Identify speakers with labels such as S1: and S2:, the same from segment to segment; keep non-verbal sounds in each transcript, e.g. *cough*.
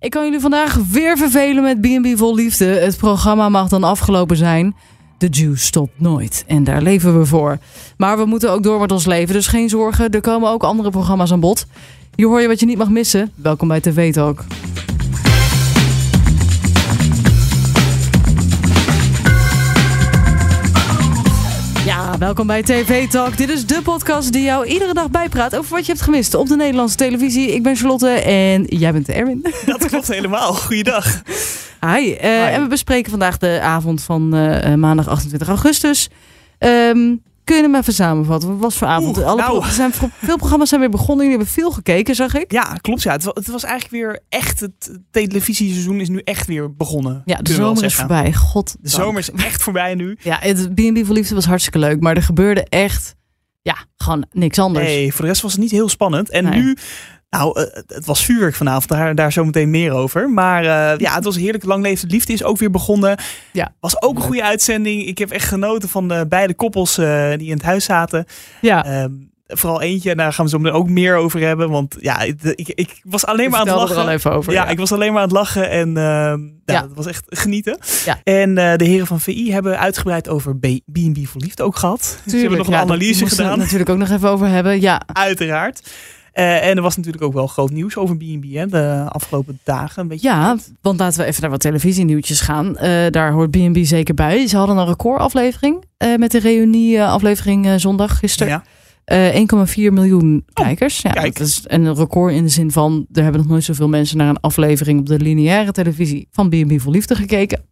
S1: Ik kan jullie vandaag weer vervelen met B&B Vol Liefde. Het programma mag dan afgelopen zijn. De juice stopt nooit en daar leven we voor. Maar we moeten ook door met ons leven, dus geen zorgen. Er komen ook andere programma's aan bod. Hier hoor je wat je niet mag missen. Welkom bij TV Talk. Ja, welkom bij TV Talk. Dit is de podcast die jou iedere dag bijpraat over wat je hebt gemist op de Nederlandse televisie. Ik ben Charlotte en jij bent Erwin.
S2: Dat klopt helemaal. Goeiedag.
S1: Hi, eh, en we bespreken vandaag de avond van eh, eh, maandag 28 augustus. Ehm, kun je hem even samenvatten? Wat was voor avond?
S2: Oeh,
S1: Alle
S2: nou.
S1: pro- er zijn, pro- veel programma's zijn weer begonnen. Jullie hebben veel gekeken, zag ik.
S2: Ja, klopt. Ja. Het, wa- het was eigenlijk weer echt. Het televisieseizoen is nu echt weer begonnen.
S1: Ja, de
S2: kunnen we wel
S1: zomer is
S2: zeggen.
S1: voorbij. God.
S2: De zomer is echt voorbij nu.
S1: Ja, het B&B voor Liefde was hartstikke leuk. Maar er gebeurde echt, ja, gewoon niks anders.
S2: Nee, voor de rest was het niet heel spannend. En
S1: Nee.
S2: nu. Nou, eh, het was vuurwerk vanavond, daar, daar zo meteen meer over. Maar eh, ja, het was heerlijk. Lang leefde liefde is ook weer begonnen.
S1: Ja.
S2: Was ook een goede uitzending. Ik heb echt genoten van de beide koppels eh, die in het huis zaten.
S1: Ja.
S2: Ehm, vooral eentje, en daar gaan we zo meteen ook meer over hebben. Want ja, ik, ik, ik was alleen
S1: Ik
S2: maar aan het
S1: vertelde
S2: lachen.
S1: er al even over.
S2: ja, ik was alleen maar aan het lachen en ehm, ja,
S1: Ja.
S2: dat was echt genieten.
S1: Ja.
S2: En eh, de heren van VI hebben uitgebreid over B- B&B voor Liefde ook gehad. Ze hebben nog een
S1: ja, dat-
S2: analyse
S1: moesten we
S2: gedaan,
S1: het natuurlijk ook nog even over hebben. Ja,
S2: *laughs* uiteraard. Eh, en er was natuurlijk ook wel groot nieuws over B&B hè, de afgelopen dagen. Een beetje
S1: Ja, want laten we even naar wat televisienieuwtjes gaan. Eh, daar hoort B&B zeker bij. Ze hadden een recordaflevering eh, met de reunie-aflevering zondag gisteren.
S2: Ja. Oh,
S1: Eh, 1,4 miljoen kijkers. Ja,
S2: kijk.
S1: dat is een record in de zin van... er hebben nog nooit zoveel mensen naar een aflevering... op de lineaire televisie van B&B voor Liefde gekeken.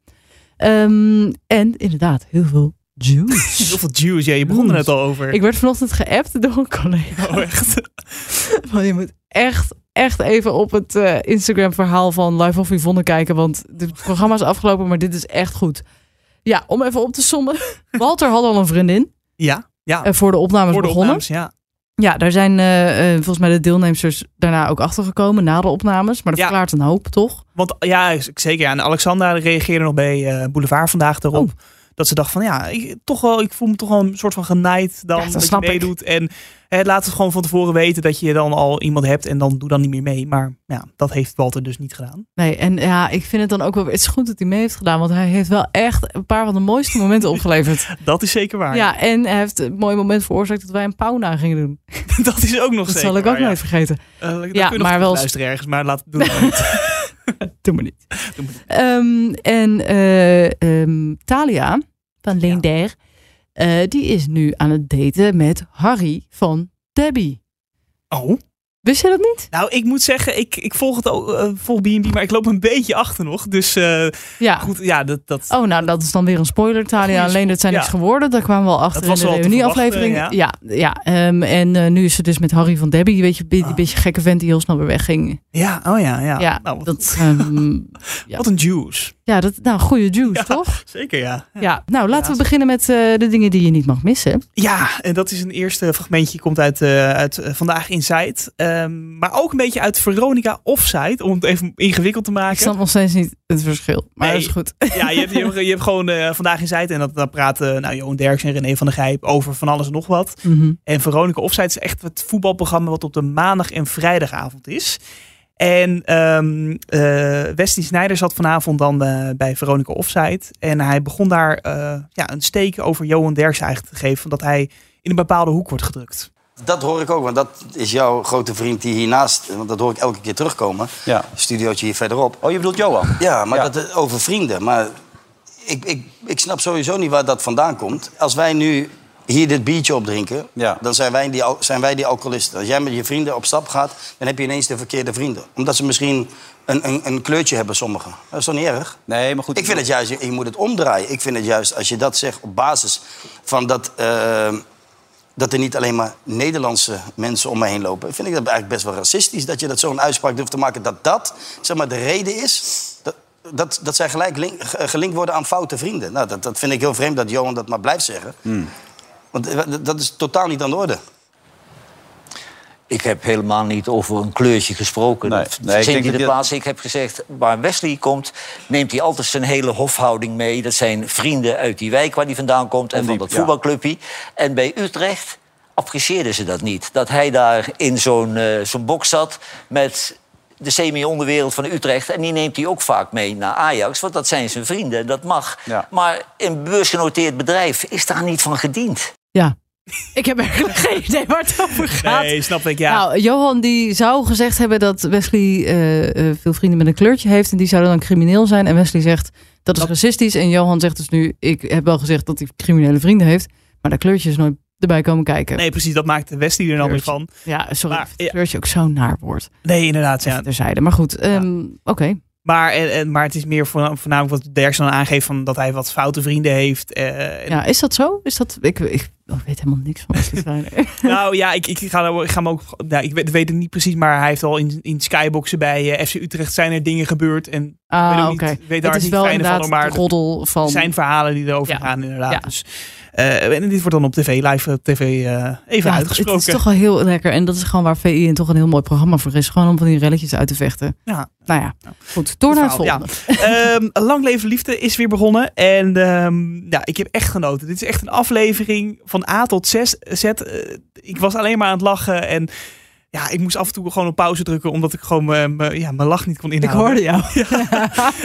S1: Ehm, en inderdaad, heel veel
S2: Heel
S1: juice.
S2: veel juice, ja, je begon er net al over.
S1: Ik werd vanochtend geappt door een collega.
S2: Oh, echt.
S1: *laughs* Van, je moet echt, echt even op het eh, Instagram-verhaal van Live of Yvonne kijken. Want het programma is afgelopen, maar dit is echt goed. Ja, om even op te
S2: *laughs*
S1: sommen. Walter had al een vriendin
S2: Ja, ja.
S1: eh, voor de opnames
S2: Voor de
S1: begonnen.
S2: opnames, ja.
S1: Ja, daar zijn eh, eh, volgens mij de deelnemers daarna ook achtergekomen na de opnames. Maar dat
S2: Ja.
S1: verklaart een hoop, toch?
S2: Want ja, zeker. Ja. En Alexandra reageerde nog bij eh, Boulevard vandaag erop.
S1: Oh.
S2: Dat ze dacht van ja, ik, toch wel, ik voel me toch wel een soort van genaaid dan
S1: Ja, dat
S2: dat,
S1: snap ik.
S2: je meedoet. En hè, laat het gewoon van tevoren weten dat je dan al iemand hebt en dan doe dan niet meer mee. Maar ja, dat heeft Walter dus niet gedaan.
S1: Nee, en ja, ik vind het dan ook wel... Het is goed dat hij mee heeft gedaan, want hij heeft wel echt een paar van de mooiste momenten
S2: *laughs*
S1: opgeleverd.
S2: Dat is zeker waar.
S1: Ja, en hij heeft een mooi moment veroorzaakt dat wij een pauw na gingen doen.
S2: *laughs* dat is ook nog
S1: Dat
S2: zeker
S1: zal ik ook
S2: waar, ja.
S1: nooit vergeten.
S2: Eh, dan kun
S1: Ja,
S2: je
S1: maar
S2: nog
S1: wel-
S2: wel luisteren ergens, maar laat doen. we
S1: *laughs*
S2: niet.
S1: Doe me niet.
S2: *laughs* Doe maar niet.
S1: Ehm, en eh, ehm, Talia van Leender, eh, die is nu aan het daten met Harry van Debbie.
S2: Oh,
S1: Wist je dat niet?
S2: nou ik moet zeggen, ik, ik volg het ook, eh, volg B&B, maar ik loop een beetje achter nog. Dus eh,
S1: Ja.
S2: goed, ja, dat, dat,
S1: Oh, nou, dat is dan weer een spoiler, Talia.
S2: Goeie
S1: Alleen dat zijn
S2: spo-
S1: niks
S2: ja.
S1: geworden. Daar kwamen we al achter
S2: Dat was
S1: in de
S2: wel te
S1: reunieaflevering. Ja,
S2: verwachten,
S1: ja. ehm, en eh, nu is ze dus met Harry van Debbie. Weet je, die
S2: Ah.
S1: beetje gekke vent die heel snel weer wegging.
S2: ja, oh ja, ja.
S1: Ja,
S2: nou, wat,
S1: dat, ehm, ja.
S2: wat een juice.
S1: ja, dat, nou, goede juice,
S2: *laughs* Ja.
S1: toch?
S2: Zeker, ja.
S1: Ja. Nou, laten
S2: Ja.
S1: we beginnen met eh, de dingen die je niet mag missen.
S2: Ja, en dat is een eerste fragmentje, komt uit, eh, uit eh, Vandaag Inside. Ehm, maar ook een beetje uit Veronica Offside, om het even ingewikkeld te
S1: Ik
S2: maken.
S1: snap nog steeds niet het verschil. Maar
S2: Nee.
S1: dat is goed. *laughs*
S2: Ja, je hebt, je hebt, je hebt gewoon eh, Vandaag Inside en dat, daar praten nou, Johan Derks en René van der Gijp over van alles en nog wat.
S1: Mhm.
S2: En Veronica Offside is echt het voetbalprogramma wat op de maandag en vrijdagavond is. En ehm eh, Wesley Sneijder zat vanavond dan eh, bij Veronica Offside. En hij begon daar eh, ja, een steek over Johan Derks eigenlijk te geven. Dat hij in een bepaalde hoek wordt gedrukt.
S3: Dat hoor ik ook, want dat is jouw grote vriend die hiernaast... want dat hoor ik elke keer terugkomen,
S4: Ja.
S3: studiootje hier verderop.
S4: Oh, je bedoelt Johan?
S3: Ja, maar
S4: Ja.
S3: Dat, eh, over vrienden. Maar ik, ik, ik snap sowieso niet waar dat vandaan komt. Als wij nu hier dit biertje opdrinken,
S4: Ja.
S3: dan zijn wij, die, al- zijn wij die alcoholisten. Als jij met je vrienden op stap gaat, dan heb je ineens de verkeerde vrienden. Omdat ze misschien een, een, een kleurtje hebben, sommigen. Dat is toch niet erg?
S4: Nee, maar goed.
S3: Ik vind het juist, je moet het omdraaien. Ik vind het juist, als je dat zegt op basis van dat, eh, dat er niet alleen maar Nederlandse mensen om me heen lopen, vind ik dat eigenlijk best wel racistisch dat je dat zo'n uitspraak durft te maken. Dat dat, zeg maar, de reden is dat, dat, dat zij gelijk link- ge- gelinkt worden aan foute vrienden. Nou, dat, dat vind ik heel vreemd dat Johan dat maar blijft zeggen.
S4: Hmm.
S3: Want eh, dat- dat is totaal niet aan de orde.
S5: Ik heb helemaal niet over een kleurtje gesproken.
S4: Nee,
S5: Dat
S4: nee, ik
S5: verzint
S4: denk
S5: hij
S4: dat
S5: de
S4: je-
S5: plaats. Ik heb gezegd, waar Wesley komt, neemt hij altijd zijn hele hofhouding mee. Dat zijn vrienden uit die wijk waar hij vandaan komt en van
S4: die-
S5: dat
S4: ja.
S5: voetbalclubje. En bij Utrecht apprecieerden ze dat niet. Dat hij daar in zo'n eh, zo'n box zat met de semi-onderwereld van Utrecht. En die neemt hij ook vaak mee naar Ajax. Want dat zijn zijn vrienden en dat mag.
S4: Ja.
S5: Maar een beursgenoteerd bedrijf is daar niet van gediend.
S1: Ja. Ik heb eigenlijk geen idee waar het over gaat.
S2: Nee, snap ik, ja.
S1: Nou, Johan die zou gezegd hebben dat Wesley eh, eh, veel vrienden met een kleurtje heeft. En die zouden dan crimineel zijn. En Wesley zegt dat is
S2: Dat-
S1: racistisch. En Johan zegt dus nu, ik heb wel gezegd dat hij criminele vrienden heeft. Maar dat kleurtje is nooit erbij komen kijken.
S2: nee, precies, dat maakt de Westie er dan weer van.
S1: Ja, sorry.
S2: Maar,
S1: ik vind het
S2: ja.
S1: Kleurtje ook zo'n naar woord.
S2: Nee, inderdaad, ja.
S1: Ja. Terzijde. Maar goed, ehm, oké.
S2: Maar, en, en- maar het is meer voorna- voornamelijk wat Derksen dan aangeeft... Van dat hij wat foute vrienden heeft. eh, en-
S1: Ja, is dat zo? Is dat, ik, ik, oh, ik weet helemaal niks van Wesley Sneijder.
S2: *laughs* Nou ja, ik, ik, ga, nou- ik ga hem ook... Nou, ik weet, weet het niet precies, maar hij heeft al in, in skyboxen bij eh, FC Utrecht... zijn er dingen gebeurd en ik weet,
S1: Ah,
S2: ook
S1: oké.
S2: niet, weet daar
S1: Het is
S2: niet
S1: wel
S2: fijne van,
S1: inderdaad
S2: hoor,
S1: de
S2: maar
S1: roddel van...
S2: er zijn verhalen die erover
S1: Ja.
S2: gaan inderdaad.
S1: Ja.
S2: Dus, eh, en dit wordt dan op tv, live op tv eh, even
S1: Ja, het,
S2: uitgesproken.
S1: het is toch wel heel lekker. En dat is gewoon waar VI en toch een heel mooi programma voor is. Gewoon om van die relletjes uit te vechten.
S2: Ja.
S1: Nou ja, goed. Door naar het
S2: verhaal,
S1: volgende.
S2: Ehm, Lang Leven Liefde is weer begonnen. En ehm, ja, ik heb echt genoten. Dit is echt een aflevering van A tot zes- Z. Eh, ik was alleen maar aan het lachen. En ja, ik moest af en toe gewoon op pauze drukken. Omdat ik gewoon mijn- mijn- ja, mijn lach niet kon
S1: Ik hoorde
S2: inhouden. *laughs*
S1: jou.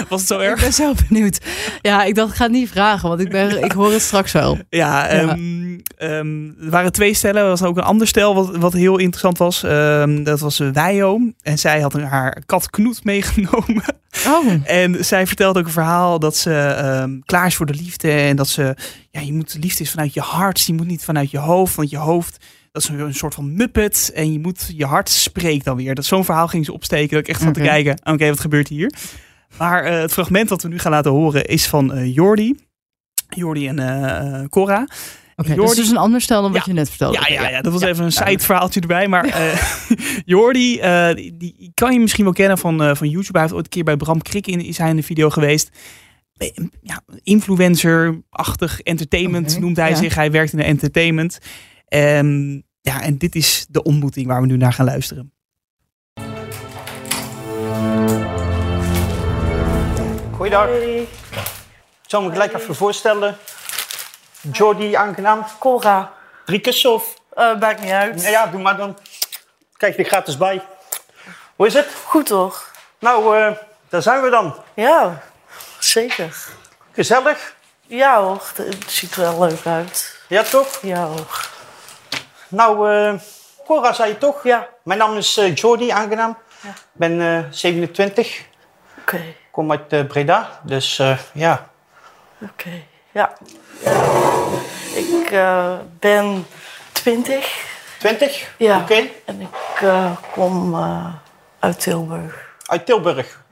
S2: Was het zo
S1: ik
S2: erg?
S1: ben zo benieuwd. Ja, ik dacht, ik ga het niet vragen, want ik, ben, ik hoor het straks wel.
S2: Ja, ehm, ehm, er waren twee stellen. Er was ook een ander stel wat, wat heel interessant was. Ehm, dat was eh, Wijho. En zij had een- haar kat Knoet meegenomen.
S1: Oh,
S2: *laughs* En zij vertelt ook een verhaal dat ze ehm, klaar is voor de liefde. En dat ze, ja, je moet, liefde is vanuit je hart. Je moet niet vanuit je hoofd. Want je hoofd, dat is een, een soort van muppet. En je moet, je hart spreekt dan weer. Dat zo'n verhaal ging ze opsteken. Dat ik echt van te
S1: Oké.
S2: kijken, oké, wat gebeurt hier? Maar eh, het fragment dat we nu gaan laten horen is van eh, Jordi. Jordi en eh, eh, Cora.
S1: oké. dat is
S2: Jordi-
S1: dus een ander stel dan wat
S2: Ja.
S1: je net vertelde.
S2: Ja, ja, ja, dat was even een
S1: duidelijk.
S2: side verhaaltje erbij. Maar eh, *laughs* Jordi, eh, die, die kan je misschien wel kennen van, eh, van YouTube. Hij heeft ooit een keer bij Bram Krik in, is hij in de video geweest. Eh, Ja, Influencer-achtig entertainment
S1: Oké,
S2: noemt hij
S1: ja.
S2: zich. Hij werkt in de entertainment. Ehm, ja, en dit is de ontmoeting waar we nu naar gaan luisteren.
S6: Goeiedag. Ik zal me gelijk even voorstellen. Jordi, aangenaam.
S7: Cora,
S6: Drie kussen of?
S7: eh, maakt niet uit.
S6: Ja, ja, doe maar dan. Kijk je er gratis bij. Hoe is het?
S7: Goed toch?
S6: Nou, eh, daar zijn we dan.
S7: Ja, zeker.
S6: Gezellig.
S7: Ja hoor, het ziet er wel leuk uit.
S6: Ja, toch?
S7: Ja hoor.
S6: Nou, eh, Cora zei je toch?
S7: Ja,
S6: Mijn naam is eh, Jordi, aangenaam.
S7: Ja.
S6: Ik ben eh, 27. Ik
S7: oké.
S6: kom uit eh, Breda. Dus eh, ja.
S7: Oké, ja. Ik eh, ben 20
S6: 20?
S7: Ja.
S6: Oké.
S7: en ik eh, kom eh, uit Tilburg.
S6: Uit Tilburg.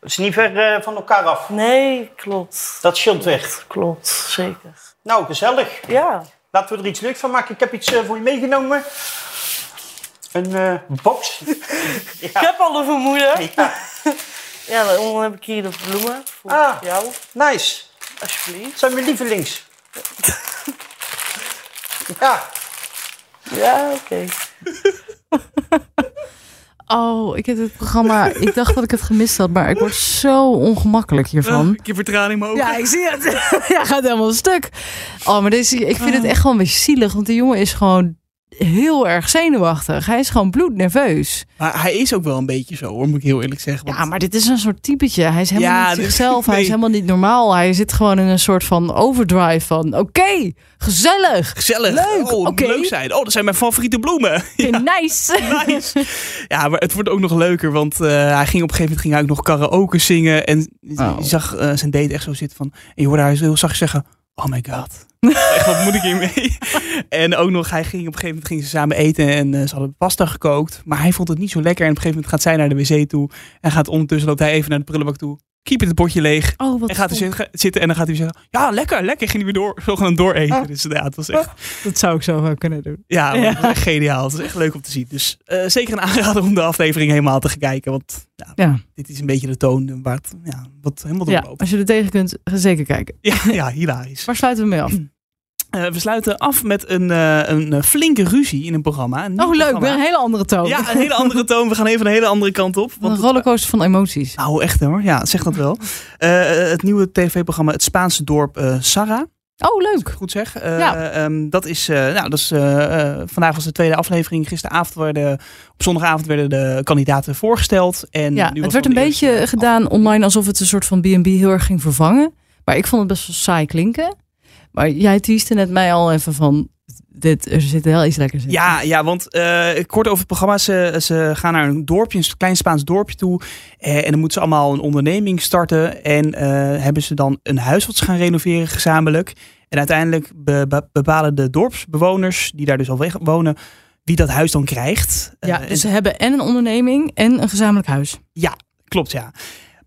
S6: Dat is niet ver eh, van elkaar af.
S7: Nee, klopt.
S6: Dat scheelt weer.
S7: Klopt, zeker.
S6: Nou, gezellig.
S7: Ja,
S6: Laten we er iets leuks van maken. Ik heb iets eh, voor je meegenomen. Een eh,
S7: *laughs*
S6: box.
S7: ik heb al een vermoeden.
S6: Ja.
S7: Ja, dan heb ik hier de bloemen voor
S6: Ah.
S7: jou,
S6: Nice.
S7: alsjeblieft.
S6: Dat zijn mijn lievelings. Ja,
S7: Ja, oké.
S1: Oh, ik heb het programma... Ik dacht dat ik het gemist had, maar ik word zo ongemakkelijk hiervan.
S2: ik heb vertraning maar ook.
S1: Ja, ik zie het. *laughs* ja, gaat helemaal stuk. Oh, maar deze, ik vind
S2: Ah.
S1: het echt gewoon weer zielig. Want die jongen is gewoon heel erg zenuwachtig. Hij is gewoon bloednerveus.
S2: Maar hij is ook wel een beetje zo, hoor, moet ik heel eerlijk zeggen.
S1: Ja, maar dit is een soort typetje. Hij is helemaal
S2: Ja,
S1: niet
S2: dit-
S1: zichzelf. Hij is
S2: *laughs* nee.
S1: helemaal niet normaal. Hij zit gewoon in een soort van overdrive van... Oké,
S2: *laughs*
S1: gezellig.
S2: Gezellig.
S1: Leuk,
S2: oh,
S1: oké.
S2: leuk zijn. Oh, dat zijn mijn favoriete bloemen.
S1: Nice.
S2: *laughs* Nice. Ja, maar het wordt ook nog leuker, want eh, hij ging op een gegeven moment ging hij ook nog karaoke zingen. En
S1: Oh.
S2: je zag eh, zijn date echt zo zitten van, en je hoorde haar heel zacht zeggen, oh my god. *laughs* echt, wat moet ik hiermee? en ook nog, hij ging op een gegeven moment gingen ze samen eten en eh, ze hadden pasta gekookt. Maar hij vond het niet zo lekker en op een gegeven moment gaat zij naar de wc toe. En gaat ondertussen, loopt hij even naar de prullenbak toe, keep het potje
S1: *laughs*
S2: leeg.
S1: Oh, wat
S2: en gaat dus hij
S1: stom.
S2: zitten- zitten en dan gaat hij zeggen, ja lekker, lekker. Ging hij weer door, zogenaamd door eten. Dus ja, het was echt...
S1: Dat zou ik zo wel kunnen doen. *laughs*
S2: Ja, maar dat is echt *laughs* geniaal. Het is echt leuk om te zien. Dus eh, zeker een aanrader om de aflevering helemaal te gaan kijken. Want ja,
S1: Ja.
S2: dit is een beetje de toon waar het ja, wat helemaal
S1: ja,
S2: doorloopt. *laughs*
S1: als je er tegen kunt, ga zeker kijken.
S2: Ja, ja,
S1: *laughs*
S2: hilarisch.
S1: Waar sluiten we mee af?
S2: Eh, we sluiten af met een, eh, een eh, flinke ruzie in een programma. Een nieuw
S1: Oh, leuk.
S2: programma.
S1: Weer een hele andere toon.
S2: Ja, een hele andere toon. We gaan even een hele andere kant op.
S1: Wat
S2: Want
S1: een rollercoaster van emoties.
S2: Nou, echt hoor. Ja, zeg dat wel. Eh, het nieuwe tv-programma Het Spaanse dorp eh Sarah.
S1: Oh, leuk.
S2: goed zeg. Eh,
S1: Ja.
S2: ehm, dat is, eh, nou, dat is eh, eh, vandaag was de tweede aflevering. Gisteravond werden, op zondagavond werden de kandidaten voorgesteld. En
S1: Ja,
S2: nu
S1: het
S2: was
S1: werd
S2: dan
S1: een
S2: de eerste
S1: beetje gedaan online alsof het een soort van B&B heel erg ging vervangen. Maar ik vond het best wel saai klinken. Maar jij teaste net mij al even van, dit, er zit heel iets lekkers in.
S2: Ja, ja want eh, kort over het programma. Ze, ze gaan naar een dorpje, een klein Spaans dorpje toe. Eh, en dan moeten ze allemaal een onderneming starten. En eh, hebben ze dan een huis wat ze gaan renoveren gezamenlijk. En uiteindelijk be- be- bepalen de dorpsbewoners, die daar dus al weg wonen, wie dat huis dan krijgt.
S1: Ja,
S2: Eh,
S1: dus ze hebben en een onderneming en een gezamenlijk huis.
S2: Klopt, ja.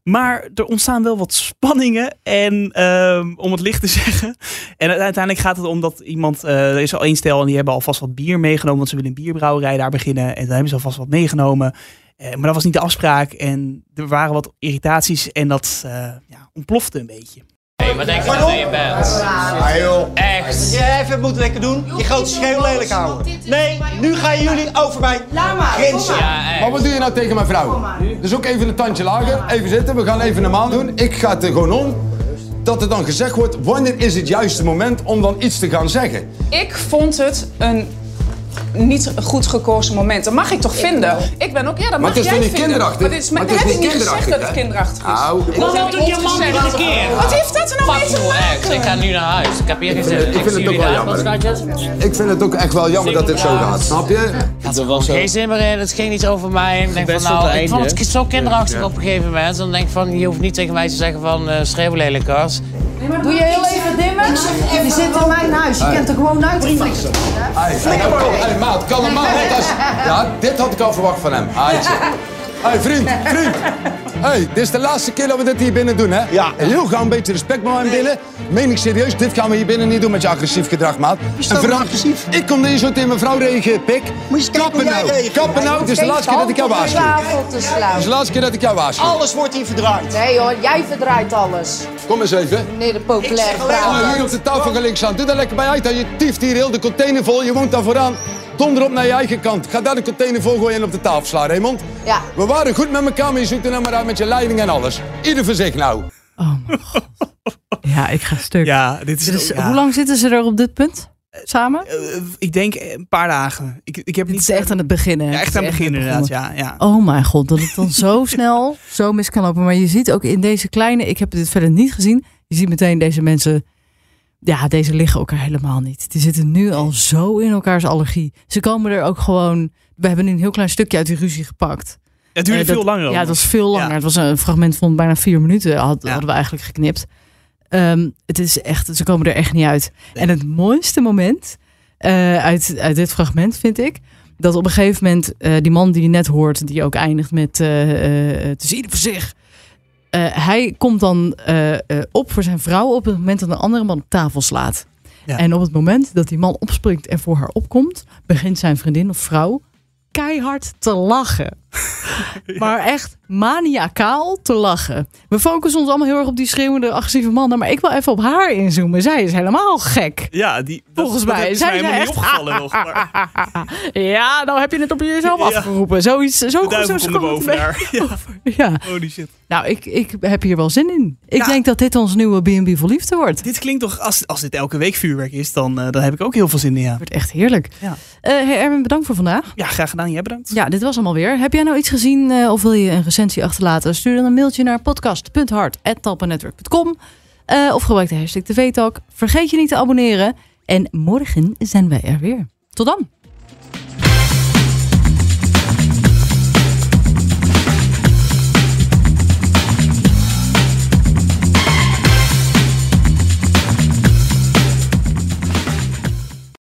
S2: Maar er ontstaan wel wat spanningen. En ehm, om het licht te *laughs* zeggen. En u- uiteindelijk gaat het om dat iemand. eh, er is al één stel en die hebben alvast wat bier meegenomen. Want ze willen een bierbrouwerij daar beginnen. En dan hebben ze alvast wat meegenomen. Eh, maar dat was niet de afspraak. En er waren wat irritaties. En dat eh, ja, ontplofte een beetje.
S4: Hey, wat denk je dat je bent? Echt?
S8: Ja, even moet lekker doen. Je grote schreeuw lelijk houden. Nee, nu gaan jullie over mij grenzen.
S4: Ja,
S9: Maar
S4: echt.
S9: wat doe je nou tegen mijn vrouw? Dus ook even een tandje lager. Even zitten, we gaan even normaal doen. Ik ga het er gewoon om dat er dan gezegd wordt... wanneer is het juiste moment om dan iets te gaan zeggen?
S10: Ik vond het een niet goed gekozen moment. Dat mag ik toch vinden? Ik ben ook, ja, dat
S9: Maar
S10: mag
S9: het is
S10: jij
S9: toch niet
S10: vinden.
S9: kinderachtig?
S10: Maar dit is, maar
S9: Maar het
S10: dat
S9: is
S10: heb
S9: niet
S10: ik niet gezegd dat het
S9: kinderachtig,
S10: kinderachtig
S9: hè?
S10: is.
S9: Au, ik-
S10: Dat
S4: Wat
S10: heb ik
S4: doet je
S9: nou
S10: niet
S4: man
S10: gezegd.
S4: nog een keer?
S10: Wat heeft dat er nou mee te
S4: Fucking ex. Ik
S10: maken?
S4: ga nu naar huis. Ik heb hier geen zin in.
S9: Ik vind
S4: zie
S9: het ook
S4: jullie
S9: wel
S4: daar.
S9: jammer.
S4: Wat is het? Ik
S9: Ik vind het ook echt wel jammer dat dit zo gaat, snap je?
S4: had er geen zin meer in. Het ging niet over mij. Ik denk van nou, ik vond het zo kinderachtig op een gegeven moment. Dan denk ik van, je hoeft niet tegen mij te zeggen van eh schreeuwlelijkers.
S7: Doe je heel even dimmen? Je zit in mijn huis. Je kent er gewoon uit.
S9: Hey, hey, maat, kan normaal.
S8: *laughs*
S9: want als- Ja, dit had ik al verwacht van hem. Hé, hey, vriend, vriend. hey, dit is de laatste keer dat we dit hier binnen doen, hè?
S8: Ja.
S9: Heel gauw een beetje respect met mij binnen. Meen ik serieus, dit gaan we hier binnen niet doen met je agressief gedrag, maat.
S8: staat
S9: En vooral-
S8: nou agressief?
S9: Ik kon niet zo tegen mijn vrouw reageren, pik.
S8: Moet je eens kijken hoe
S9: Kappen
S8: jij
S9: nou,
S8: reageert.
S9: kappen nou. Dit is de laatste keer dat ik jou waarschuw. Het
S7: Tafel te slaan.
S9: is de laatste keer dat ik jou waarschuw.
S8: Alles wordt hier verdraaid.
S7: Nee hoor, jij verdraait alles.
S9: Kom eens even.
S7: Meneer de populaire praat.
S9: Oh, hier op de tafel gaan links aan. Doe daar lekker bij uit. hè. Je tieft hier heel de container vol. Je woont daar vooraan. Donder op naar je eigen kant. Ga daar de container vol gooien en op de tafel slaan, Raymond.
S7: Ja.
S9: We waren goed met elkaar, maar je zoekt er nou maar uit met je leiding en alles. Ieder voor zich nou.
S1: Oh mijn
S2: *laughs*
S1: god. Ja, ik ga stuk.
S2: Ja, dit is.
S1: Dit is-
S2: ja.
S1: Hoe lang zitten ze er op dit punt? Samen?
S2: Dus Eh, ik denk eh, een paar dagen. Ik, ik heb
S1: Dit
S2: niet.
S1: is echt aan het begin. hè?
S2: ja,
S1: Dit
S2: echt
S1: is
S2: aan het begin, inderdaad.
S1: begonnen.
S2: Ja, ja.
S1: Oh mijn god, dat het dan zo snel zo mis kan lopen. Maar je ziet ook in deze kleine, ik heb dit verder niet gezien. Je ziet meteen deze mensen, ja, deze liggen elkaar helemaal niet. Die zitten nu al zo in elkaars allergie. Ze komen er ook gewoon, we hebben nu een heel klein stukje uit die ruzie gepakt.
S2: Het duurde
S1: Eh, dat-
S2: veel langer.
S1: Ja,
S2: ook.
S1: dat was veel langer.
S2: Ja.
S1: Het was een fragment van bijna vier minuten. Had,
S2: Ja.
S1: Hadden we eigenlijk geknipt. Ehm, het is echt, ze komen er echt niet uit. En het mooiste moment eh, uit, uit dit fragment vind ik. Dat op een gegeven moment eh, die man die je net hoort, die ook eindigt met eh, eh, het is ieder voor zich. Eh, hij komt dan eh, eh, op voor zijn vrouw op het moment dat een andere man op tafel slaat.
S2: Ja.
S1: En op het moment dat die man opspringt en voor haar opkomt, begint zijn vriendin of vrouw keihard te lachen. *laughs* Maar echt maniakaal te lachen. We focussen ons allemaal heel erg op die schreeuwende, agressieve mannen. Maar ik wil even op haar inzoomen. Zij is helemaal
S2: *laughs*
S1: gek.
S2: Ja, die, dat-
S1: Volgens
S2: dat
S1: mij
S2: is
S1: zijn
S2: helemaal
S1: ze
S2: niet
S1: echt-
S2: opgevallen
S1: *laughs*
S2: nog. Maar
S1: Ja, nou heb je het op jezelf
S2: Ja.
S1: afgeroepen. Zoiets, zo
S2: de
S1: goed, zo
S2: duivel komt er
S1: schoot
S2: boven
S1: het
S2: daar. Ja,
S1: mee. *laughs* Ja,
S2: Oh, holy shit.
S1: nou ik, ik heb hier wel zin in. Ik
S2: Ja.
S1: denk dat dit ons nieuwe B&B voor liefde wordt.
S2: Dit klinkt toch, als, als dit elke week vuurwerk is, dan, eh, dan heb ik ook heel veel zin in. Ja,
S1: wordt echt heerlijk.
S2: Ja.
S1: Eh, hey Erwin, bedankt voor vandaag.
S2: ja graag gedaan. Jij bedankt.
S1: Ja, dit was hem alweer. Heb jij nou iets gezien eh, of wil je een recensie achterlaten? Stuur dan een mailtje naar podcast.hart.talpennetwerk.com eh, of gebruik de hashtag TVTalk. Vergeet je niet te abonneren. En morgen zijn wij er weer. Tot dan!